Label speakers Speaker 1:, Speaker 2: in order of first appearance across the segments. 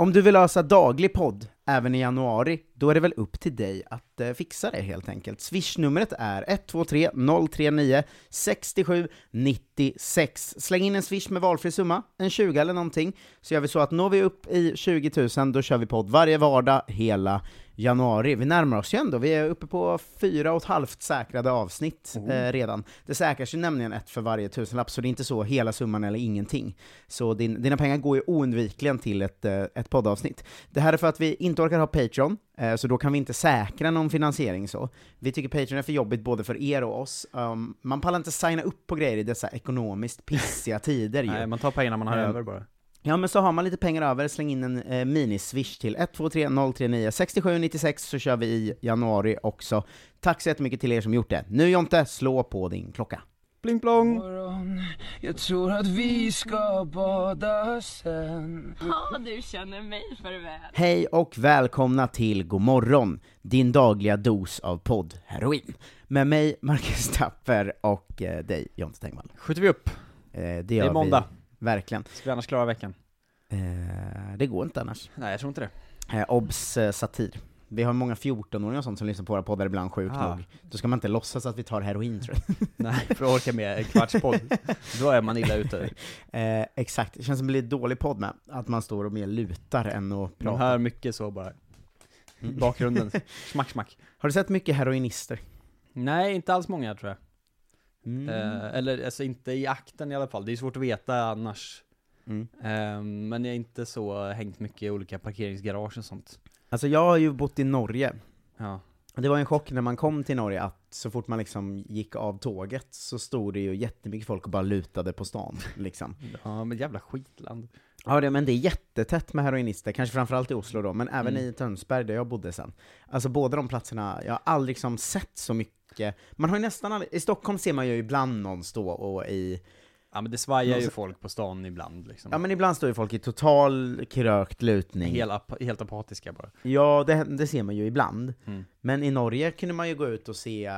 Speaker 1: Om du vill ösa daglig podd även i januari, då är det väl upp till dig att eh, fixa det helt enkelt. Swish-numret är 123 039 67 96. Släng in en swish med valfri summa, en 20 eller någonting, så gör vi så att når vi upp i 20 000, då kör vi podd varje vardag hela januari. Vi närmar oss ju ändå, vi är uppe på fyra och ett halvt säkrade avsnitt eh, redan. Det säkras ju nämligen ett för varje tusenlapp, så det är inte så hela summan eller ingenting. Så din, dina pengar går ju oundvikligen till ett, eh, ett poddavsnitt. Det här är för att vi inte orkar ha Patreon, eh, så då kan vi inte säkra någon finansiering så. Vi tycker Patreon är för jobbigt både för er och oss. Um, man pallar inte signa upp på grejer i dessa ekonomiskt pissiga tider ju.
Speaker 2: Nej, man tar pengarna man har
Speaker 1: Eh,
Speaker 2: över bara.
Speaker 1: Ja men så har man lite pengar över, släng in en eh, miniswish till 123 039 67 96 så kör vi i januari också. Tack så jättemycket till er som gjort det. Nu Jonte, slå på din klocka.
Speaker 2: Pling plong!
Speaker 3: Jag tror att vi ska bada sen
Speaker 4: Du känner mig för väl.
Speaker 1: Hej och välkomna till God morgon, din dagliga dos av podd heroin. Med mig Marcus Tapper och eh, dig Jonte Tengvall.
Speaker 2: skjuter vi upp.
Speaker 1: Eh, det, gör
Speaker 2: Det är måndag.
Speaker 1: Vi, verkligen.
Speaker 2: Ska vi annars klara veckan?
Speaker 1: Eh, det går inte annars.
Speaker 2: Nej, jag tror inte det.
Speaker 1: Eh, obs eh, satir. Vi har många 14-åringar och sånt som lyssnar på våra poddar ibland, sjukt
Speaker 2: Ah.
Speaker 1: nog. Då ska man inte låtsas att vi tar heroin tror jag.
Speaker 2: Nej, för att orka med en kvarts podd. Då är man illa ute.
Speaker 1: Eh, exakt, det känns som det blir dålig podd med, att man står och mer lutar än att
Speaker 2: Man
Speaker 1: prata.
Speaker 2: hör mycket så bara. I bakgrunden. Mm. Smack, smack.
Speaker 1: Har du sett mycket heroinister?
Speaker 2: Nej, inte alls många tror jag. Eh, eller alltså inte i akten i alla fall. Det är svårt att veta annars.
Speaker 1: Mm.
Speaker 2: Eh, men jag är inte så hängt mycket i olika parkeringsgarage och sånt.
Speaker 1: Alltså jag har ju bott i Norge,
Speaker 2: Ja.
Speaker 1: och det var en chock när man kom till Norge att så fort man liksom gick av tåget så stod det ju jättemycket folk och bara lutade på stan liksom.
Speaker 2: Ja, men jävla skitland.
Speaker 1: Ja, det, men det är jättetätt med heroinister, kanske framförallt i Oslo då, men även i Tönsberg där jag bodde sen. Alltså båda de platserna, jag har aldrig liksom sett så mycket. Man har ju nästan aldrig, i Stockholm ser man ju ibland någon stå och i,
Speaker 2: Ja men alltså- det svajar ju
Speaker 1: Någon-
Speaker 2: folk på stan ibland liksom.
Speaker 1: ja men ibland står ju folk i total krökt lutning.
Speaker 2: Helt, ap- helt apatiska bara.
Speaker 1: Ja, det, det ser man ju ibland.
Speaker 2: Mm.
Speaker 1: Men i Norge kunde man ju gå ut och se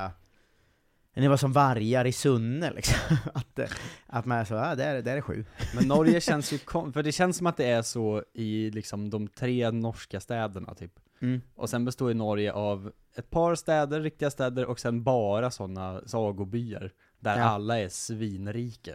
Speaker 1: det var som vargar i Sunne liksom. Att, eh, att man är så, ah, där, där är sju.
Speaker 2: Men Norge känns ju, kon- för det känns som att det är så i liksom de tre norska städerna typ.
Speaker 1: Mm.
Speaker 2: Och sen består ju Norge av ett par städer, riktiga städer, och sen bara sådana sagobyar. Där
Speaker 1: Ja.
Speaker 2: alla är svinrika.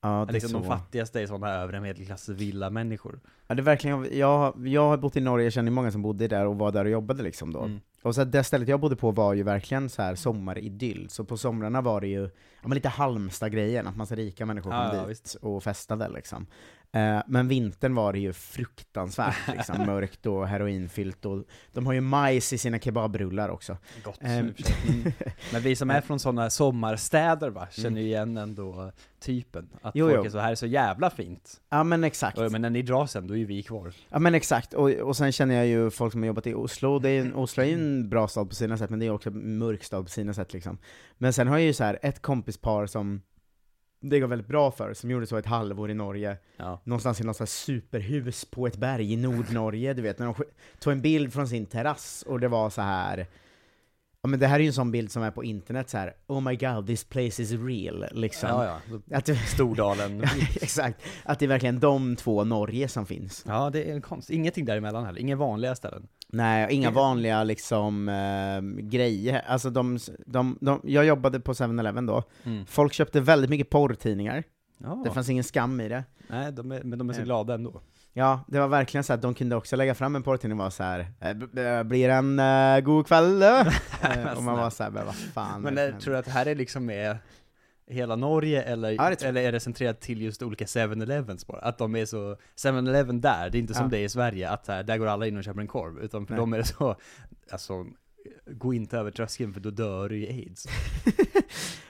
Speaker 1: Ja, det är
Speaker 2: liksom
Speaker 1: så.
Speaker 2: de fattigaste är sådana övre medelklass villamänniskor.
Speaker 1: Ja, det är verkligen, jag, jag har bott i Norge, jag känner många som bodde där och var där och jobbade liksom då.
Speaker 2: Mm.
Speaker 1: Och så att det stället jag bodde på var ju verkligen så här sommaridyll, så på somrarna var det ju ja, men lite Halmstad-grejen, att massa rika människor kom
Speaker 2: Ah, Ja, ja,
Speaker 1: dit
Speaker 2: visst.
Speaker 1: och festade liksom. Eh, men vintern var det ju fruktansvärt liksom, mörkt och heroinfyllt och de har ju majs i sina kebabrullar också.
Speaker 2: Gott
Speaker 1: Ehm.
Speaker 2: i och för sig. mm. Men vi som är från sådana sommarstäder va, känner ju igen ändå typen. Att
Speaker 1: Jo,
Speaker 2: folk
Speaker 1: jo.
Speaker 2: är så här är så jävla fint.
Speaker 1: Ja men exakt.
Speaker 2: Och, men när ni drar sen, då är ju vi kvar.
Speaker 1: Ja men exakt, och, och sen känner jag ju folk som har jobbat i Oslo, det är, ju en- Oslo är ju en bra stad på sina sätt, men det är också en mörk stad på sina sätt liksom. Men sen har jag ju så här ett kompispar som det går väldigt bra för, som gjorde så ett halvår i Norge,
Speaker 2: Ja.
Speaker 1: någonstans i något så här superhus på ett berg i Nordnorge, du vet, när de sk- tog en bild från sin terrass och det var så här Ja men det här är ju en sån bild som är på internet så här. oh my god this place is real, liksom.
Speaker 2: Ja, ja. Då-
Speaker 1: Att det,
Speaker 2: Stordalen.
Speaker 1: exakt, att det är verkligen de två Norge som finns.
Speaker 2: Ja, det är en konst. Ingenting däremellan heller. Inga vanliga ställen.
Speaker 1: Nej, inga vanliga liksom eh, grejer. Alltså de, de, de, jag jobbade på 7-Eleven då,
Speaker 2: Mm.
Speaker 1: folk köpte väldigt mycket porrtidningar,
Speaker 2: Ja,
Speaker 1: det fanns ingen skam i det.
Speaker 2: nej, de är, men de är så
Speaker 1: Eh.
Speaker 2: glada ändå.
Speaker 1: Ja, det var verkligen så att de kunde också lägga fram en porrtidning och vara såhär eh, b- b- ”Blir det en eh, god kväll?” eh?" Eh, Och man var såhär, "Men vad fan
Speaker 2: Men
Speaker 1: är det
Speaker 2: eh,
Speaker 1: som
Speaker 2: tror du att det här är liksom med hela Norge eller,
Speaker 1: Ja, det tror jag.
Speaker 2: eller är det centrerat till just olika 7-Elevens bara? Att de är så, 7-Eleven där, det är inte som
Speaker 1: Ja.
Speaker 2: det är i Sverige att så här, där går alla in och köper en korv, utan för
Speaker 1: Nej.
Speaker 2: dem är det så, alltså gå inte över tröskeln för då dör du i aids.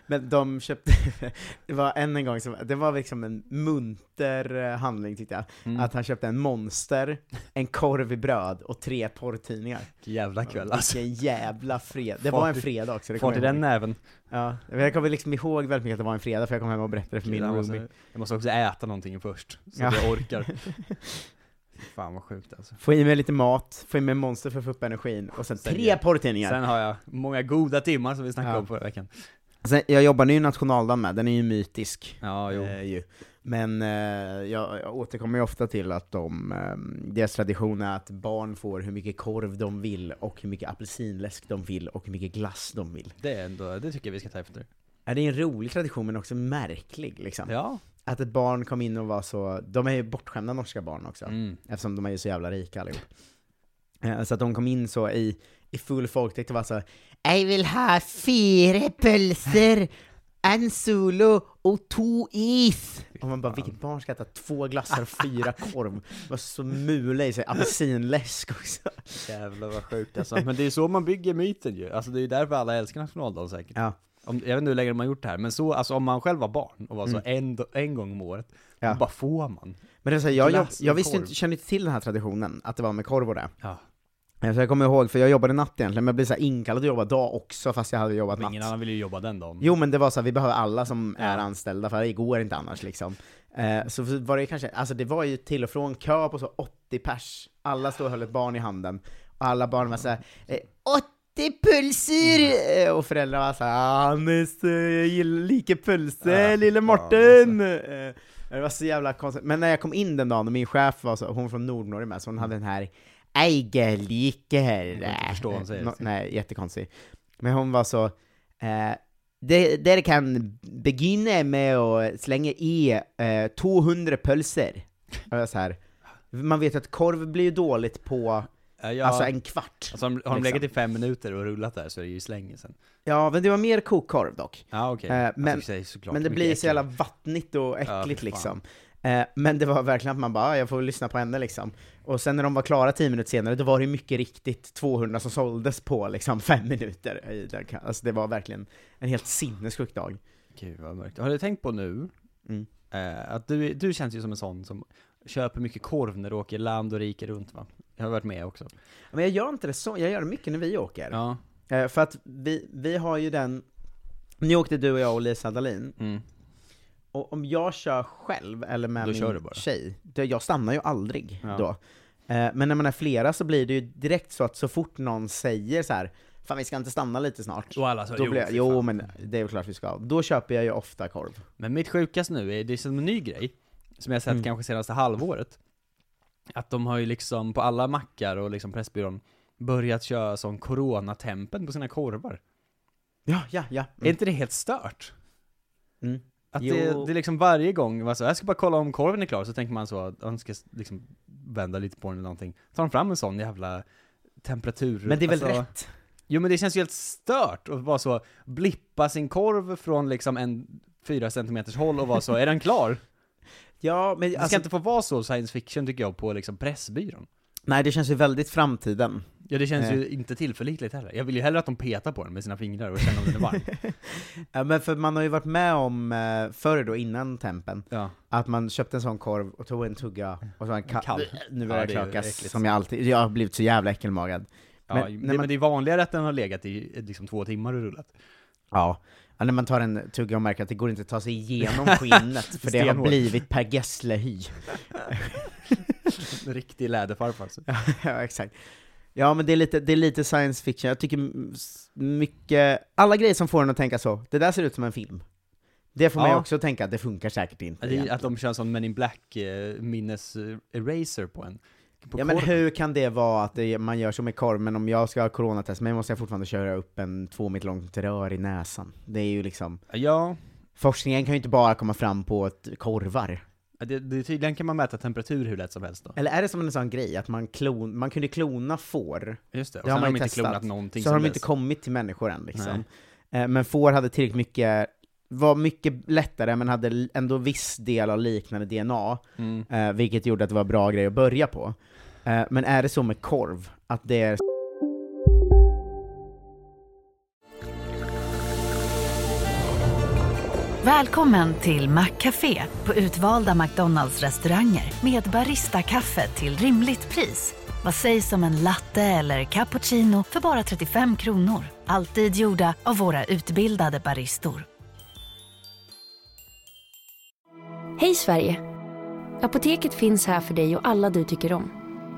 Speaker 1: Men de köpte, det var än en gång, som, det var liksom en munter eh, handling tyckte jag.
Speaker 2: Mm.
Speaker 1: Att han köpte en monster, en korv i bröd och tre porrtidningar.
Speaker 2: Vilken jävla kväll alltså.
Speaker 1: Vilken jävla fredag. Det
Speaker 2: Fart
Speaker 1: var en
Speaker 2: i-
Speaker 1: fredag också, det
Speaker 2: Fart i
Speaker 1: jag
Speaker 2: den
Speaker 1: ihåg.
Speaker 2: näven.
Speaker 1: Ja, men jag kommer liksom ihåg väldigt mycket att det var en fredag, för jag kom hem och berättade för min
Speaker 2: jag,
Speaker 1: roomie.
Speaker 2: måste, jag måste också äta någonting först, så
Speaker 1: Ja.
Speaker 2: att jag orkar. Fy Fan vad sjukt alltså.
Speaker 1: Få i mig lite mat, få i mig monster för att få upp energin, och sen
Speaker 2: Sen
Speaker 1: tre
Speaker 2: igen.
Speaker 1: porrtidningar!
Speaker 2: Sen har jag många goda timmar som vi snackade
Speaker 1: Ja.
Speaker 2: om förra veckan.
Speaker 1: Sen, Alltså, jag jobbar nu i nationaldagen med, den är ju mytisk.
Speaker 2: Ja, jo.
Speaker 1: Eh, ju. Men eh, jag, jag återkommer ju ofta till att de, eh, deras tradition är att barn får hur mycket korv de vill, och hur mycket apelsinläsk de vill, och hur mycket glass de vill.
Speaker 2: Det, är ändå, det tycker jag vi ska ta efter.
Speaker 1: Ja, det är en rolig tradition men också märklig liksom.
Speaker 2: Ja.
Speaker 1: Att ett barn kom in och var så, de är ju bortskämda norska barn också.
Speaker 2: Mm.
Speaker 1: Eftersom de är ju så jävla rika allihop. Eh, Så att de kom in så i, i full folkdräkt och var så Jag vill ha fyra pölser, en solo och två is! Och man bara, vilket barn ska äta två glassar och fyra korv? Var så mula i sig, apelsinläsk också.
Speaker 2: Jävlar vad sjukt alltså. Men det är ju så man bygger myten ju. Alltså det är ju därför alla älskar nationaldagen säkert.
Speaker 1: Ja.
Speaker 2: Om, jag vet inte hur länge de har gjort det här, men så, alltså om man själv var barn och var så en, do- en gång om året,
Speaker 1: Mm. Ja.
Speaker 2: då bara får man.
Speaker 1: Men det är så här, jag, jag,
Speaker 2: Glass och
Speaker 1: jag visste ju
Speaker 2: korv.
Speaker 1: inte, kände inte till den här traditionen, att det var med korv och det.
Speaker 2: Ja.
Speaker 1: Eh, Så jag kommer ihåg, för jag jobbade natt egentligen, men jag blev så här inkallad att jobba dag också fast jag hade jobbat
Speaker 2: Men ingen
Speaker 1: natt.
Speaker 2: annan vill ju jobba den dagen.
Speaker 1: Jo men det var så här, vi behöver alla som
Speaker 2: Ja.
Speaker 1: är anställda för det går inte annars liksom. Eh, så var det kanske, alltså det var ju till och från kö på så 80 pers. Alla stod och höll ett barn i handen. Och alla barn var såhär, eh, 80 pulser! Eh,
Speaker 2: Mm.
Speaker 1: Och föräldrarna var såhär, Anis, eh, jag gillar lika pulser,
Speaker 2: Ja,
Speaker 1: lille
Speaker 2: fan,
Speaker 1: Morten! Eh, Det var så jävla konstigt. Men när jag kom in den dagen och min chef var så, hon var från Nordnorge med, så hon hade den här Eigerliker.
Speaker 2: kan inte förstå vad hon säger.
Speaker 1: Nå- Nej, jättekonstig. Men hon var så, eh, det, där kan begynna med att slänga i eh, 200 pölser. Och jag så här, man vet att korv blir ju dåligt på
Speaker 2: Ja, jag,
Speaker 1: alltså
Speaker 2: alltså,
Speaker 1: en kvart.
Speaker 2: har de- har de
Speaker 1: liksom.
Speaker 2: legat i fem minuter och rullat där så är det ju släng sen.
Speaker 1: Ja, men det var mer kokkorv dock.
Speaker 2: Ja okej.
Speaker 1: Eh,
Speaker 2: Alltså,
Speaker 1: men-
Speaker 2: i och för sig såklart
Speaker 1: men det
Speaker 2: mycket
Speaker 1: blir så jävla
Speaker 2: äckligt.
Speaker 1: vattnigt och
Speaker 2: Ja,
Speaker 1: äckligt
Speaker 2: fy fan.
Speaker 1: liksom. Eh, Men det var verkligen att man bara, "Ah, jag får väl lyssna på henne liksom. Och sen när de var klara 10 minuter senare, då var det ju mycket riktigt 200 som såldes på liksom fem minuter. i den kan- Alltså det var verkligen en helt sinnessjuk dag.
Speaker 2: Gud vad mörkt. Har du tänkt på nu,
Speaker 1: Mm.
Speaker 2: eh, att du, du känns ju som en sån som köper mycket korv när du åker land och rike runt va? Jag har varit med också.
Speaker 1: Men jag gör inte det så, jag gör det mycket när vi åker.
Speaker 2: Ja.
Speaker 1: Eh, För att vi, vi har ju den, nu åkte du och jag och Lisa Dahlin,
Speaker 2: Mm.
Speaker 1: och om jag kör själv eller med
Speaker 2: Då
Speaker 1: min
Speaker 2: kör du bara.
Speaker 1: tjej, det- jag stannar ju aldrig
Speaker 2: Ja.
Speaker 1: då. Eh, Men när man är flera så blir det ju direkt så att så fort någon säger så här, fan vi ska inte stanna lite snart,
Speaker 2: Och alla sa
Speaker 1: då
Speaker 2: jo,
Speaker 1: blir jag,
Speaker 2: fy
Speaker 1: jo
Speaker 2: fan.
Speaker 1: men det är väl klart vi ska, då köper jag ju ofta korv.
Speaker 2: Men mitt sjukaste nu är, det är som en ny grej, som jag sett
Speaker 1: Mm.
Speaker 2: kanske senaste halvåret. Att de har ju liksom på alla mackar och liksom Pressbyrån börjat köra sån coronatempen på sina korvar.
Speaker 1: Ja, ja, ja.
Speaker 2: Är
Speaker 1: Mm.
Speaker 2: inte det helt stört?
Speaker 1: Mm.
Speaker 2: Att
Speaker 1: Jo.
Speaker 2: det, det är liksom varje gång, man så, jag ska bara kolla om korven är klar, så tänker man så, att man ska liksom vända lite på den eller någonting. Tar de fram en sån jävla temperatur...
Speaker 1: Men det är väl
Speaker 2: alltså-
Speaker 1: rätt?
Speaker 2: Jo men det känns ju helt stört att vara så, blippa sin korv från liksom en fyra centimeters håll och vara så, är den klar?
Speaker 1: Ja, men
Speaker 2: Det ska
Speaker 1: alltså,
Speaker 2: inte få vara så science fiction tycker jag på liksom Pressbyrån.
Speaker 1: nej det känns ju väldigt framtiden.
Speaker 2: Ja det känns
Speaker 1: Nej.
Speaker 2: ju inte tillförlitligt heller. Jag vill ju hellre att de petar på den med sina fingrar och känner om den är varm.
Speaker 1: Ja, men för man har ju varit med om, eh, förr då, innan tempen,
Speaker 2: Ja.
Speaker 1: Att man köpte en sån korv och tog en tugga och så en kall.
Speaker 2: Kall.
Speaker 1: Nu
Speaker 2: Ja,
Speaker 1: börjar
Speaker 2: det är
Speaker 1: jag
Speaker 2: ju
Speaker 1: klökas
Speaker 2: äckligt.
Speaker 1: som jag alltid, jag har blivit så jävla äckelmagad.
Speaker 2: Ja,
Speaker 1: Men
Speaker 2: men,
Speaker 1: när
Speaker 2: det,
Speaker 1: man-
Speaker 2: men det är vanligare att den har legat i eh, liksom två timmar och rullat.
Speaker 1: Ja. ja. När man tar en tugga och märker att det går inte att ta sig igenom skinnet, för det har
Speaker 2: Stenhårt.
Speaker 1: blivit Per Gessle-hy.
Speaker 2: En riktig läderfarfar alltså.
Speaker 1: ja, exakt. Ja men det är, lite, det är lite science fiction, jag tycker m- s- mycket, alla grejer som får en att tänka så, det där ser ut som en film. Det får mig
Speaker 2: Ja.
Speaker 1: också att tänka att det funkar säkert inte.
Speaker 2: Det är
Speaker 1: egentligen.
Speaker 2: Att de kör en sån Men in Black eh, minnes eh, eraser på en. På
Speaker 1: Ja men
Speaker 2: korven.
Speaker 1: hur kan det vara att det, man gör så med korv, men om jag ska ha coronatest, men måste jag fortfarande köra upp en två meter långt rör i näsan? Det är ju liksom,
Speaker 2: Ja,
Speaker 1: forskningen kan ju inte bara komma fram på ett korvar.
Speaker 2: Det, det, tydligen kan man mäta temperatur hur lätt som helst då.
Speaker 1: Eller är det som en sån grej att man, klon, man kunde klona får,
Speaker 2: Just det, och
Speaker 1: Det har
Speaker 2: sen har
Speaker 1: man
Speaker 2: de
Speaker 1: ju
Speaker 2: inte
Speaker 1: testat.
Speaker 2: klonat någonting
Speaker 1: så har
Speaker 2: sen
Speaker 1: de inte
Speaker 2: dess.
Speaker 1: kommit till människor än liksom. Eh, Men får hade tillräckligt mycket, var mycket lättare men hade l- ändå viss del av liknande DNA,
Speaker 2: Mm.
Speaker 1: eh, vilket gjorde att det var en bra grej att börja på. Eh, Men är det så med korv, att det är
Speaker 5: Välkommen till Maccafé på utvalda McDonalds restauranger med Baristakaffe till rimligt pris. Vad sägs om en latte eller cappuccino för bara 35 kronor? Alltid gjorda av våra utbildade baristor.
Speaker 6: Hej Sverige! Apoteket finns här för dig och alla du tycker om.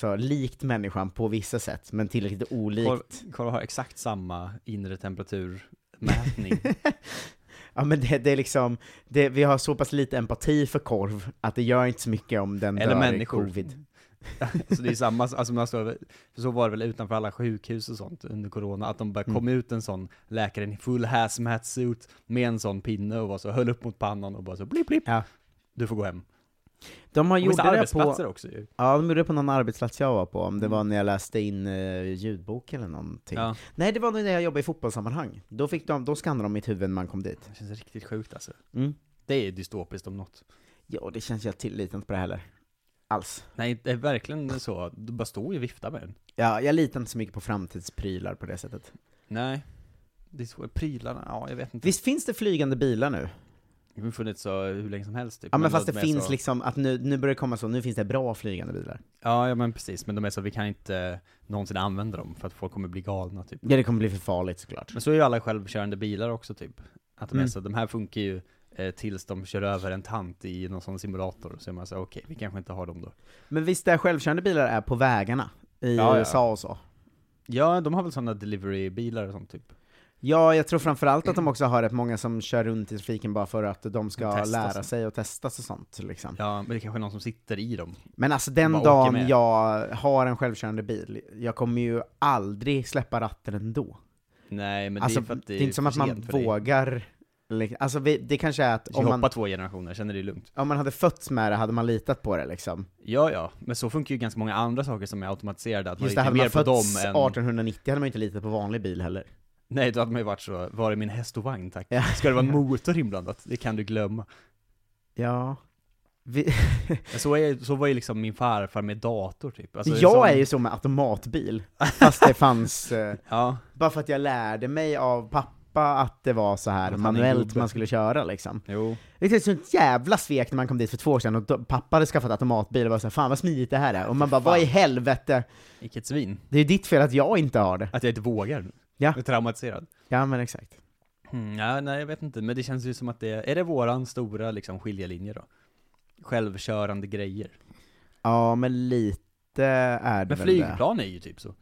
Speaker 1: för likt människan på vissa sätt, men tillräckligt olikt.
Speaker 2: Korv, korv har exakt samma inre temperaturmätning.
Speaker 1: Ja men det, det är liksom, det, vi har så pass lite empati för korv att det gör inte så mycket om den
Speaker 2: Eller
Speaker 1: dör
Speaker 2: människor.
Speaker 1: i covid.
Speaker 2: så det är samma, alltså man står, för så var det väl utanför alla sjukhus och sånt under corona, att de bara
Speaker 1: Mm.
Speaker 2: kom ut en sån läkaren i full hazmat suit med en sån pinne och var så, höll upp mot pannan och bara så blipp blipp,
Speaker 1: Ja.
Speaker 2: du får gå hem.
Speaker 1: De har
Speaker 2: Och
Speaker 1: gjort
Speaker 2: vissa
Speaker 1: det på,
Speaker 2: arbetsplatser också ju.
Speaker 1: ja de gjorde det på någon arbetsplats jag var på, om det var när jag läste in eh, ljudbok eller någonting.
Speaker 2: Ja.
Speaker 1: Nej det var när jag jobbade i fotbollssammanhang, då, fick de, då skannade de mitt huvud när man kom dit.
Speaker 2: Det känns riktigt sjukt alltså.
Speaker 1: Mm.
Speaker 2: Det är dystopiskt om något.
Speaker 1: Ja det känns jag tilliten inte på det heller. Alls.
Speaker 2: Nej, det är verkligen så, du bara står ju och viftar med den.
Speaker 1: Ja, jag litar inte så mycket på framtidsprylar på det sättet.
Speaker 2: Nej. Det är så, prylarna, ja jag vet inte.
Speaker 1: Visst finns det flygande bilar nu?
Speaker 2: Det har funnits så hur länge som helst typ.
Speaker 1: Ja men fast
Speaker 2: de
Speaker 1: det
Speaker 2: är
Speaker 1: finns
Speaker 2: så,
Speaker 1: liksom, att nu, nu börjar det komma så, nu finns det bra flygande bilar.
Speaker 2: Ja, ja men precis, men de är så, vi kan inte någonsin använda dem för att folk kommer bli galna typ.
Speaker 1: Ja det kommer bli för farligt såklart.
Speaker 2: Men så är ju alla självkörande bilar också typ. Att de är
Speaker 1: Mm.
Speaker 2: så, de här funkar ju eh, tills de kör över en tant i någon sån simulator. Så är man så här, okej, vi kanske inte har dem då.
Speaker 1: Men visst är självkörande bilar är på vägarna? I
Speaker 2: Ja, ja.
Speaker 1: USA och så?
Speaker 2: Ja, de har väl sådana delivery-bilar och sånt typ.
Speaker 1: Ja, jag tror framförallt att de också har rätt många som kör runt i trafiken bara för att de ska
Speaker 2: Testas.
Speaker 1: lära sig och testas och sånt liksom.
Speaker 2: Ja, men det kanske är någon som sitter i dem.
Speaker 1: Men alltså den
Speaker 2: Bara åker
Speaker 1: dagen
Speaker 2: med.
Speaker 1: jag har en självkörande bil, jag kommer ju aldrig släppa ratten ändå.
Speaker 2: Nej, men
Speaker 1: alltså,
Speaker 2: det är för att det,
Speaker 1: inte som
Speaker 2: för
Speaker 1: att man
Speaker 2: sent för dig.
Speaker 1: vågar, liksom. alltså vi, det kanske är att
Speaker 2: Du kan
Speaker 1: om man,
Speaker 2: hoppa två generationer, sen är det lugnt.
Speaker 1: om man hade fötts med det hade man litat på det liksom.
Speaker 2: Ja, ja, men så funkar ju ganska många andra saker som är automatiserade. Att man
Speaker 1: Just det,
Speaker 2: litar
Speaker 1: hade
Speaker 2: mer
Speaker 1: man
Speaker 2: på dem
Speaker 1: fötts
Speaker 2: än...
Speaker 1: 1890 hade man ju inte litat på vanlig bil heller.
Speaker 2: Nej, då hade man ju varit så, var är min häst och vagn tack?
Speaker 1: Ja.
Speaker 2: Ska det vara en motor inblandat? Det kan du glömma.
Speaker 1: Ja. Vi,
Speaker 2: Men så, är, så var ju liksom min farfar med dator typ. Alltså, det
Speaker 1: jag
Speaker 2: sån-
Speaker 1: är ju så med automatbil, fast det fanns, eh,
Speaker 2: Ja,
Speaker 1: bara för att jag lärde mig av pappa att det var så här
Speaker 2: Att han är
Speaker 1: manuellt
Speaker 2: gubbe.
Speaker 1: man skulle köra liksom.
Speaker 2: jo.
Speaker 1: Det är ett sånt jävla svek när man kom dit för två år sedan och då, pappa hade skaffat automatbil och var såhär 'Fan vad smidigt det här är' och man bara 'Vad i helvete?'
Speaker 2: Vilket svin.
Speaker 1: Det är ju ditt fel att jag inte har det.
Speaker 2: Att jag inte vågar nu.
Speaker 1: Ja.
Speaker 2: Jag är traumatiserad.
Speaker 1: Ja men exakt.
Speaker 2: Mm, ja, nej, jag vet inte, men det känns ju som att det är det våran stora liksom, skiljelinje då? Självkörande grejer.
Speaker 1: Ja men lite är det
Speaker 2: Men
Speaker 1: väl det.
Speaker 2: flygplan är ju typ så.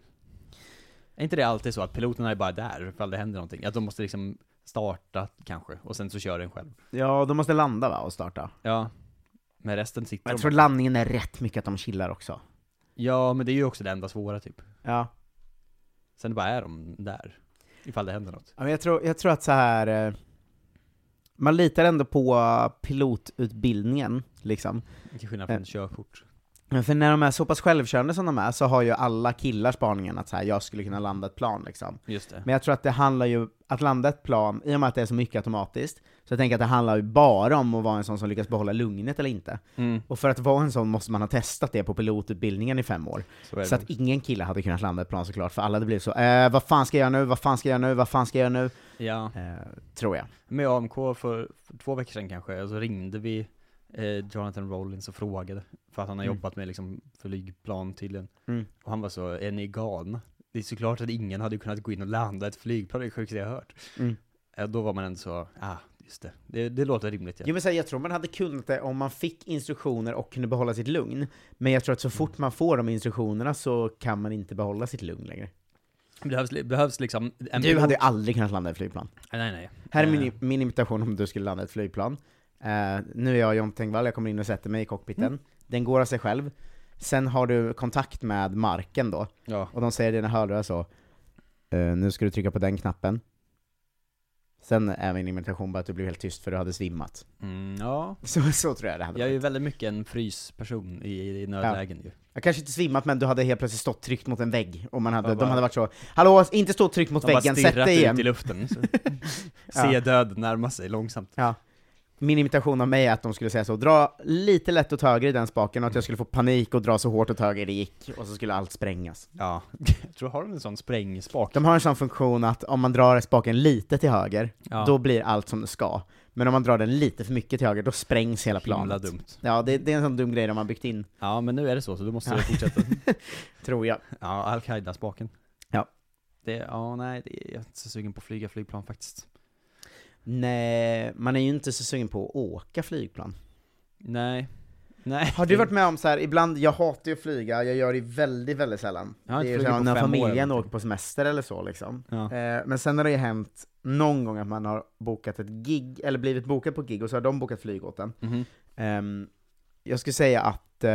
Speaker 2: Är inte det alltid så att piloterna är bara där ifall det händer någonting? Att de måste liksom starta kanske, och sen så kör den själv.
Speaker 1: Ja, de måste landa va och starta.
Speaker 2: Ja. Men resten sitter
Speaker 1: Jag
Speaker 2: de
Speaker 1: tror
Speaker 2: bara-
Speaker 1: landningen är rätt mycket att de chillar också.
Speaker 2: Ja, men det är ju också det enda svåra typ.
Speaker 1: Ja.
Speaker 2: Sen bara är de där. Ifall det händer något.
Speaker 1: Ja, men jag, tror, jag tror att så här eh, man litar ändå på pilotutbildningen, liksom.
Speaker 2: Till skillnad från körkort.
Speaker 1: Men för när de är så pass självkörande som de är så har ju alla killar spaningen att så här, jag skulle kunna landa ett plan liksom.
Speaker 2: Just det.
Speaker 1: Men jag tror att det handlar ju, att landa ett plan, i och med att det är så mycket automatiskt, så jag tänker att det handlar ju bara om att vara en sån som lyckas behålla lugnet eller inte.
Speaker 2: Mm,
Speaker 1: Och för att vara en sån måste man ha testat det på pilotutbildningen i fem år.
Speaker 2: så är det.
Speaker 1: Så att ingen kille hade kunnat landa ett plan såklart, för alla hade blivit så eh, vad fan ska jag göra nu, vad fan ska jag göra nu, vad fan ska jag göra nu?
Speaker 2: ja.
Speaker 1: Eh, tror jag.
Speaker 2: med AMK för, för två veckor sedan kanske, så ringde vi eh, Jonathan Rollins och frågade. För att han har
Speaker 1: Mm.
Speaker 2: jobbat med liksom, flygplan tydligen.
Speaker 1: Mm.
Speaker 2: Och han var så, är ni galna? Det är såklart att ingen hade kunnat gå in och landa ett flygplan, det är det sjukaste jag har hört.
Speaker 1: Mm.
Speaker 2: Eh, då var man ändå så, ah, just det. Det, det låter rimligt. Ja.
Speaker 1: Jo men så här, jag tror man hade kunnat det om man fick instruktioner och kunde behålla sitt lugn. Men jag tror att så fort
Speaker 2: Mm.
Speaker 1: man får de instruktionerna så kan man inte behålla sitt lugn längre.
Speaker 2: Det behövs, li- behövs liksom... En
Speaker 1: Du hade ju aldrig kunnat landa i ett flygplan.
Speaker 2: Nej, nej.
Speaker 1: Här är
Speaker 2: Eh,
Speaker 1: min, min imitation om du skulle landa i ett flygplan. Eh, nu är jag John Tengvall, jag kommer in och sätter mig i cockpiten.
Speaker 2: Mm.
Speaker 1: Den går av sig själv. Sen har du kontakt med marken då,
Speaker 2: Ja.
Speaker 1: och de säger i dina hörlurar så eh, Nu ska du trycka på den knappen. Sen är min imitation bara att du blev helt tyst för du hade svimmat.
Speaker 2: Mm, ja.
Speaker 1: Så, så tror jag det hade
Speaker 2: Jag är
Speaker 1: varit.
Speaker 2: ju väldigt mycket en frysperson i, i nödlägen ju.
Speaker 1: Jag kanske inte svimmat men du hade helt plötsligt stått tryckt mot en vägg, och man hade,
Speaker 2: Ja,
Speaker 1: de
Speaker 2: bara-
Speaker 1: hade varit så Hallå, inte stå tryckt mot
Speaker 2: De bara
Speaker 1: väggen, sätt
Speaker 2: stirrat
Speaker 1: dig igen!
Speaker 2: ut i luften. Så.
Speaker 1: Ja.
Speaker 2: Se död närma sig långsamt.
Speaker 1: Min imitation av mig är att de skulle säga så, dra lite lätt åt höger i den spaken och att jag skulle få panik och dra så hårt åt höger det gick, och så skulle allt sprängas.
Speaker 2: Ja. Jag tror, har de en sån sprängspak?
Speaker 1: De har en sån funktion att om man drar spaken lite till höger,
Speaker 2: Ja.
Speaker 1: då blir allt som det ska. Men om man drar den lite för mycket till höger, då sprängs hela
Speaker 2: Himla
Speaker 1: planet.
Speaker 2: dumt.
Speaker 1: Ja, det, det är en sån dum grej de har byggt in,
Speaker 2: Ja, men nu är det så, så du måste
Speaker 1: Ja.
Speaker 2: fortsätta.
Speaker 1: tror jag.
Speaker 2: Ja, Al-Qaida-spaken.
Speaker 1: Ja.
Speaker 2: Det, ja, nej, det, jag är inte så sugen på att flyga flygplan faktiskt.
Speaker 1: Nej, man är ju inte så sugen på att åka flygplan.
Speaker 2: Nej. Nej.
Speaker 1: Har du varit med om så här, ibland, jag hatar ju att flyga, jag gör det väldigt, väldigt sällan.
Speaker 2: Jag har
Speaker 1: det
Speaker 2: inte
Speaker 1: är ju så
Speaker 2: flugit på
Speaker 1: när
Speaker 2: fem år eller
Speaker 1: familjen
Speaker 2: någonting.
Speaker 1: åker på semester eller så liksom.
Speaker 2: Ja.
Speaker 1: Eh, men sen har det ju hänt någon gång att man har bokat ett gig, eller blivit bokad på ett gig och så har de bokat flyg åt en.
Speaker 2: Mhm.
Speaker 1: Ehm, jag skulle säga att eh,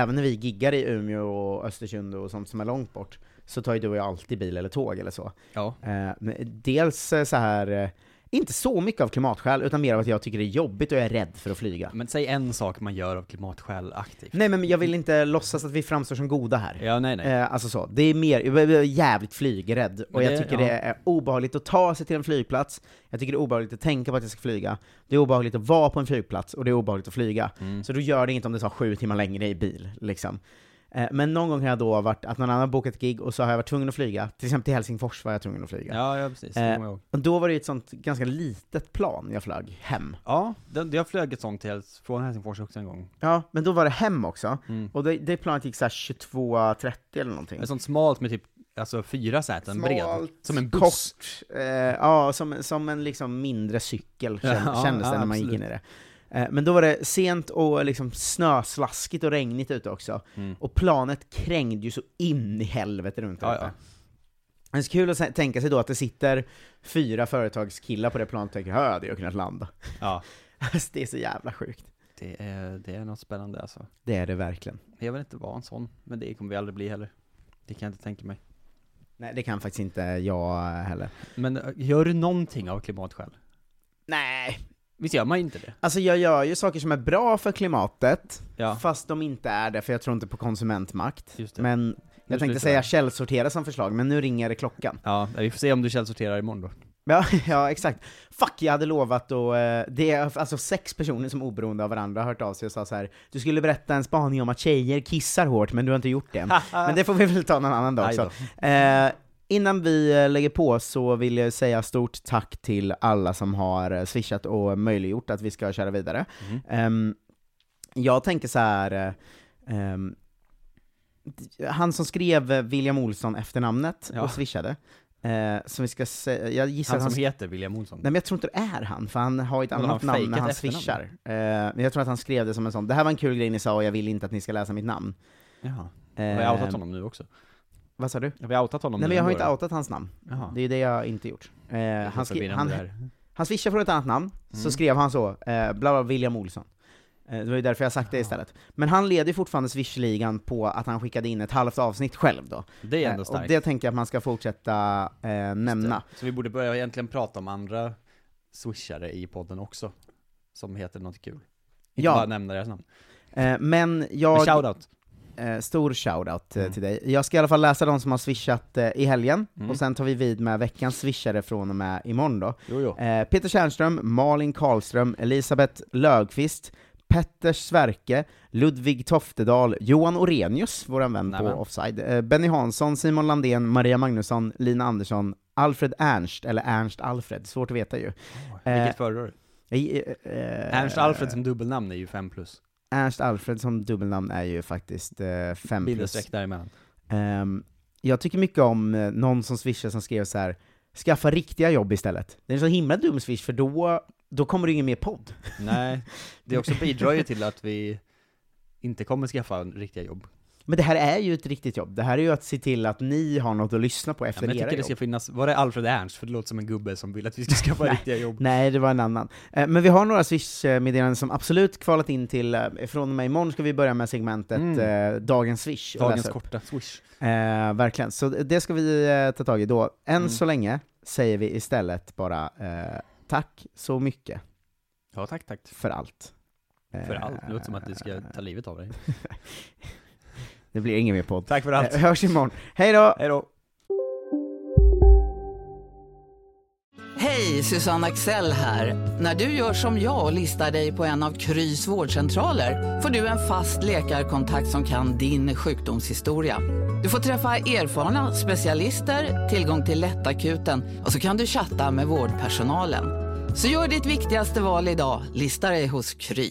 Speaker 1: även när vi giggar i Umeå och Östersund och sånt som är långt bort, så tar ju du och jag alltid bil eller tåg eller så.
Speaker 2: Ja.
Speaker 1: Eh, men dels eh, så här eh, inte så mycket av klimatskäl, utan mer av att jag tycker det är jobbigt och jag är rädd för att flyga.
Speaker 2: Men säg en sak man gör av klimatskäl aktivt.
Speaker 1: Nej men jag vill inte låtsas att vi framstår som goda här.
Speaker 2: Ja, nej, nej.
Speaker 1: Eh, alltså så, det är mer, jag är jävligt flygrädd och
Speaker 2: Men
Speaker 1: jag
Speaker 2: det-
Speaker 1: tycker
Speaker 2: ja.
Speaker 1: det är obehagligt att ta sig till en flygplats, jag tycker det är obehagligt att tänka på att jag ska flyga, det är obehagligt att vara på en flygplats och det är obehagligt att flyga.
Speaker 2: Mm.
Speaker 1: Så då gör det inte om det tar sju timmar längre i bil liksom. Eh, Men någon gång har jag då varit, att någon annan har bokat gig och så har jag varit tvungen att flyga, till exempel till Helsingfors var jag tvungen att flyga.
Speaker 2: Ja, ja precis.
Speaker 1: Eh,
Speaker 2: Det kommer jag ihåg.
Speaker 1: Och då var det ju ett sånt ganska litet plan jag flög hem.
Speaker 2: Ja, det, det- jag flög ett sånt till, Hells- från Helsingfors också en gång.
Speaker 1: Ja, men då var det hem också,
Speaker 2: Mm.
Speaker 1: och det, det planet gick såhär 22.30 eller någonting.
Speaker 2: Ett sånt smalt med typ, alltså fyra säten bred.
Speaker 1: Smalt,
Speaker 2: Som en buss.
Speaker 1: Kort, eh, ja, som, som en liksom mindre cykel kändes,
Speaker 2: Ja,
Speaker 1: kändes det
Speaker 2: ja,
Speaker 1: när man gick in
Speaker 2: absolut.
Speaker 1: i det. Eh, men då var det sent och liksom snöslaskigt och regnigt ute också.
Speaker 2: Mm.
Speaker 1: Och planet krängde ju så in i helvete runt där
Speaker 2: Ja,
Speaker 1: ute.
Speaker 2: ja.
Speaker 1: Men Det är så kul att se- tänka sig då att det sitter fyra företagskillar på det planet och tänker "Här hade jag kunnat landa.
Speaker 2: Ja,
Speaker 1: Alltså, det är så jävla sjukt.
Speaker 2: det är, det är något spännande alltså.
Speaker 1: Det är det verkligen.
Speaker 2: Jag vill inte vara en sån, men det kommer vi aldrig bli heller. Det kan jag inte tänka mig.
Speaker 1: Nej, det kan faktiskt inte jag heller.
Speaker 2: Men eh, gör du någonting av klimatskäl?
Speaker 1: Nej,
Speaker 2: Visst gör man inte det?
Speaker 1: alltså jag gör ju saker som är bra för klimatet,
Speaker 2: Ja,
Speaker 1: Fast de inte är det, för jag tror inte på konsumentmakt.
Speaker 2: just det.
Speaker 1: Men
Speaker 2: Nu
Speaker 1: jag tänkte
Speaker 2: slutar det.
Speaker 1: säga källsortera som förslag, men nu ringer det klockan.
Speaker 2: Ja, vi får se om du källsorterar imorgon då.
Speaker 1: Ja, ja exakt. Fuck, jag hade lovat och eh, det är alltså sex personer som oberoende av varandra har hört av sig och sa så här. du skulle berätta en spaning om att tjejer kissar hårt, men du har inte gjort det än. men det får vi väl ta någon annan dag
Speaker 2: Aj
Speaker 1: också.
Speaker 2: då.
Speaker 1: Eh, innan vi eh, lägger på så vill jag säga stort tack till alla som har eh, swishat och möjliggjort att vi ska köra vidare.
Speaker 2: Mm.
Speaker 1: Ehm, jag tänker så här. eh, ehm, d- han som skrev eh, William Olsson efternamnet
Speaker 2: Ja.
Speaker 1: och swishade, eh, som vi ska säga, jag gissar
Speaker 2: Han
Speaker 1: att han
Speaker 2: som heter William Olsson.
Speaker 1: Nej men jag tror inte det är han, för han har ju ett
Speaker 2: Men har
Speaker 1: annat
Speaker 2: han
Speaker 1: namn när
Speaker 2: fejkat
Speaker 1: han
Speaker 2: efternamn?
Speaker 1: swishar. Eh, men jag tror att han skrev det som en sån, det här var en kul grej ni sa och jag vill inte att ni ska läsa mitt namn.
Speaker 2: Jaha.
Speaker 1: Eh,
Speaker 2: Har jag outat honom nu också?
Speaker 1: Vad sa du?
Speaker 2: Ehm. Har vi outat honom
Speaker 1: Nej
Speaker 2: nu
Speaker 1: men jag har
Speaker 2: ändå
Speaker 1: inte
Speaker 2: då?
Speaker 1: outat hans namn.
Speaker 2: Jaha.
Speaker 1: Det är det jag har inte gjort. Eh,
Speaker 2: Det är
Speaker 1: han, skri-
Speaker 2: förvirrande
Speaker 1: han,
Speaker 2: det här. Mm.
Speaker 1: han swishade från ett annat namn, så skrev han så, eh, bla bla William Olsson. Eh, det var ju därför jag sagt det istället. Men han leder ju fortfarande swishligan på att han skickade in ett halvt avsnitt själv då.
Speaker 2: Det är ändå
Speaker 1: Eh, och
Speaker 2: starkt.
Speaker 1: det tänker jag att man ska fortsätta eh, nämna.
Speaker 2: Så vi borde börja egentligen prata om andra swishare i podden också. Som heter något kul. Inte
Speaker 1: Ja.
Speaker 2: bara nämna deras namn.
Speaker 1: Eh, men
Speaker 2: Men
Speaker 1: jag...
Speaker 2: shoutout.
Speaker 1: Eh, stor shoutout eh,
Speaker 2: Mm.
Speaker 1: till dig. Jag ska i alla fall läsa de som har swishat eh, i helgen,
Speaker 2: Mm.
Speaker 1: och sen tar vi vid med veckans swishare från och med imorgon då.
Speaker 2: Jo, jo.
Speaker 1: Eh, Peter Tjärnström, Malin Karlström, Elisabeth Lögqvist, Petter Sverke, Ludvig Toftedal, Johan Orenius, våran vän på
Speaker 2: Nämen.
Speaker 1: Offside, eh, Benny Hansson, Simon Landén, Maria Magnusson, Lina Andersson, Alfred Ernst, eller Ernst Alfred, svårt att veta ju.
Speaker 2: Vilket föredrar du?
Speaker 1: Eh, eh,
Speaker 2: Ernst Alfred som dubbelnamn är ju 5 plus.
Speaker 1: Ernst Alfred som dubbelnamn är ju faktiskt 5 plus.
Speaker 2: Bindestreck däremellan.
Speaker 1: Ehm, jag tycker mycket om eh, någon som swishar som skrev så här skaffa riktiga jobb istället. Det är en så himla dum swish, för då då kommer det ingen mer podd.
Speaker 2: Nej, det också bidrar ju till att vi inte kommer skaffa riktiga jobb.
Speaker 1: Men det här är ju ett riktigt jobb. Det här är ju att se till att ni har något att lyssna på
Speaker 2: Ja,
Speaker 1: efter
Speaker 2: men jag
Speaker 1: era
Speaker 2: tycker det
Speaker 1: jobb.
Speaker 2: ska finnas, var det Alfred Ernst? För det låter som en gubbe som vill att vi ska skaffa riktiga jobb.
Speaker 1: Nej, det var en annan. Eh, Men vi har några Swish-meddelanden som absolut kvalat in till, eh, från och med imorgon ska vi börja med segmentet
Speaker 2: Mm.
Speaker 1: eh, Dagens Swish. och
Speaker 2: Dagens
Speaker 1: läsa upp.
Speaker 2: korta swish.
Speaker 1: Eh, verkligen, så det ska vi eh, ta tag i då. Än
Speaker 2: Mm.
Speaker 1: så länge säger vi istället bara eh, tack så mycket
Speaker 2: Ja, tack, tack.
Speaker 1: för allt. Eh,
Speaker 2: För allt. Det låter som att du ska ta livet av dig.
Speaker 1: Det blir ingen mer podd.
Speaker 2: Tack för allt.
Speaker 1: Eh, hörs imorgon. Hej då!
Speaker 2: Hej då.
Speaker 7: Hej, Susanne Axel här. När du gör som jag och listar dig på en av Krys vårdcentraler får du en fast läkarkontakt som kan din sjukdomshistoria. Du får träffa erfarna specialister, tillgång till lättakuten och så kan du chatta med vårdpersonalen. Så gör ditt viktigaste val idag, lista dig hos Kry.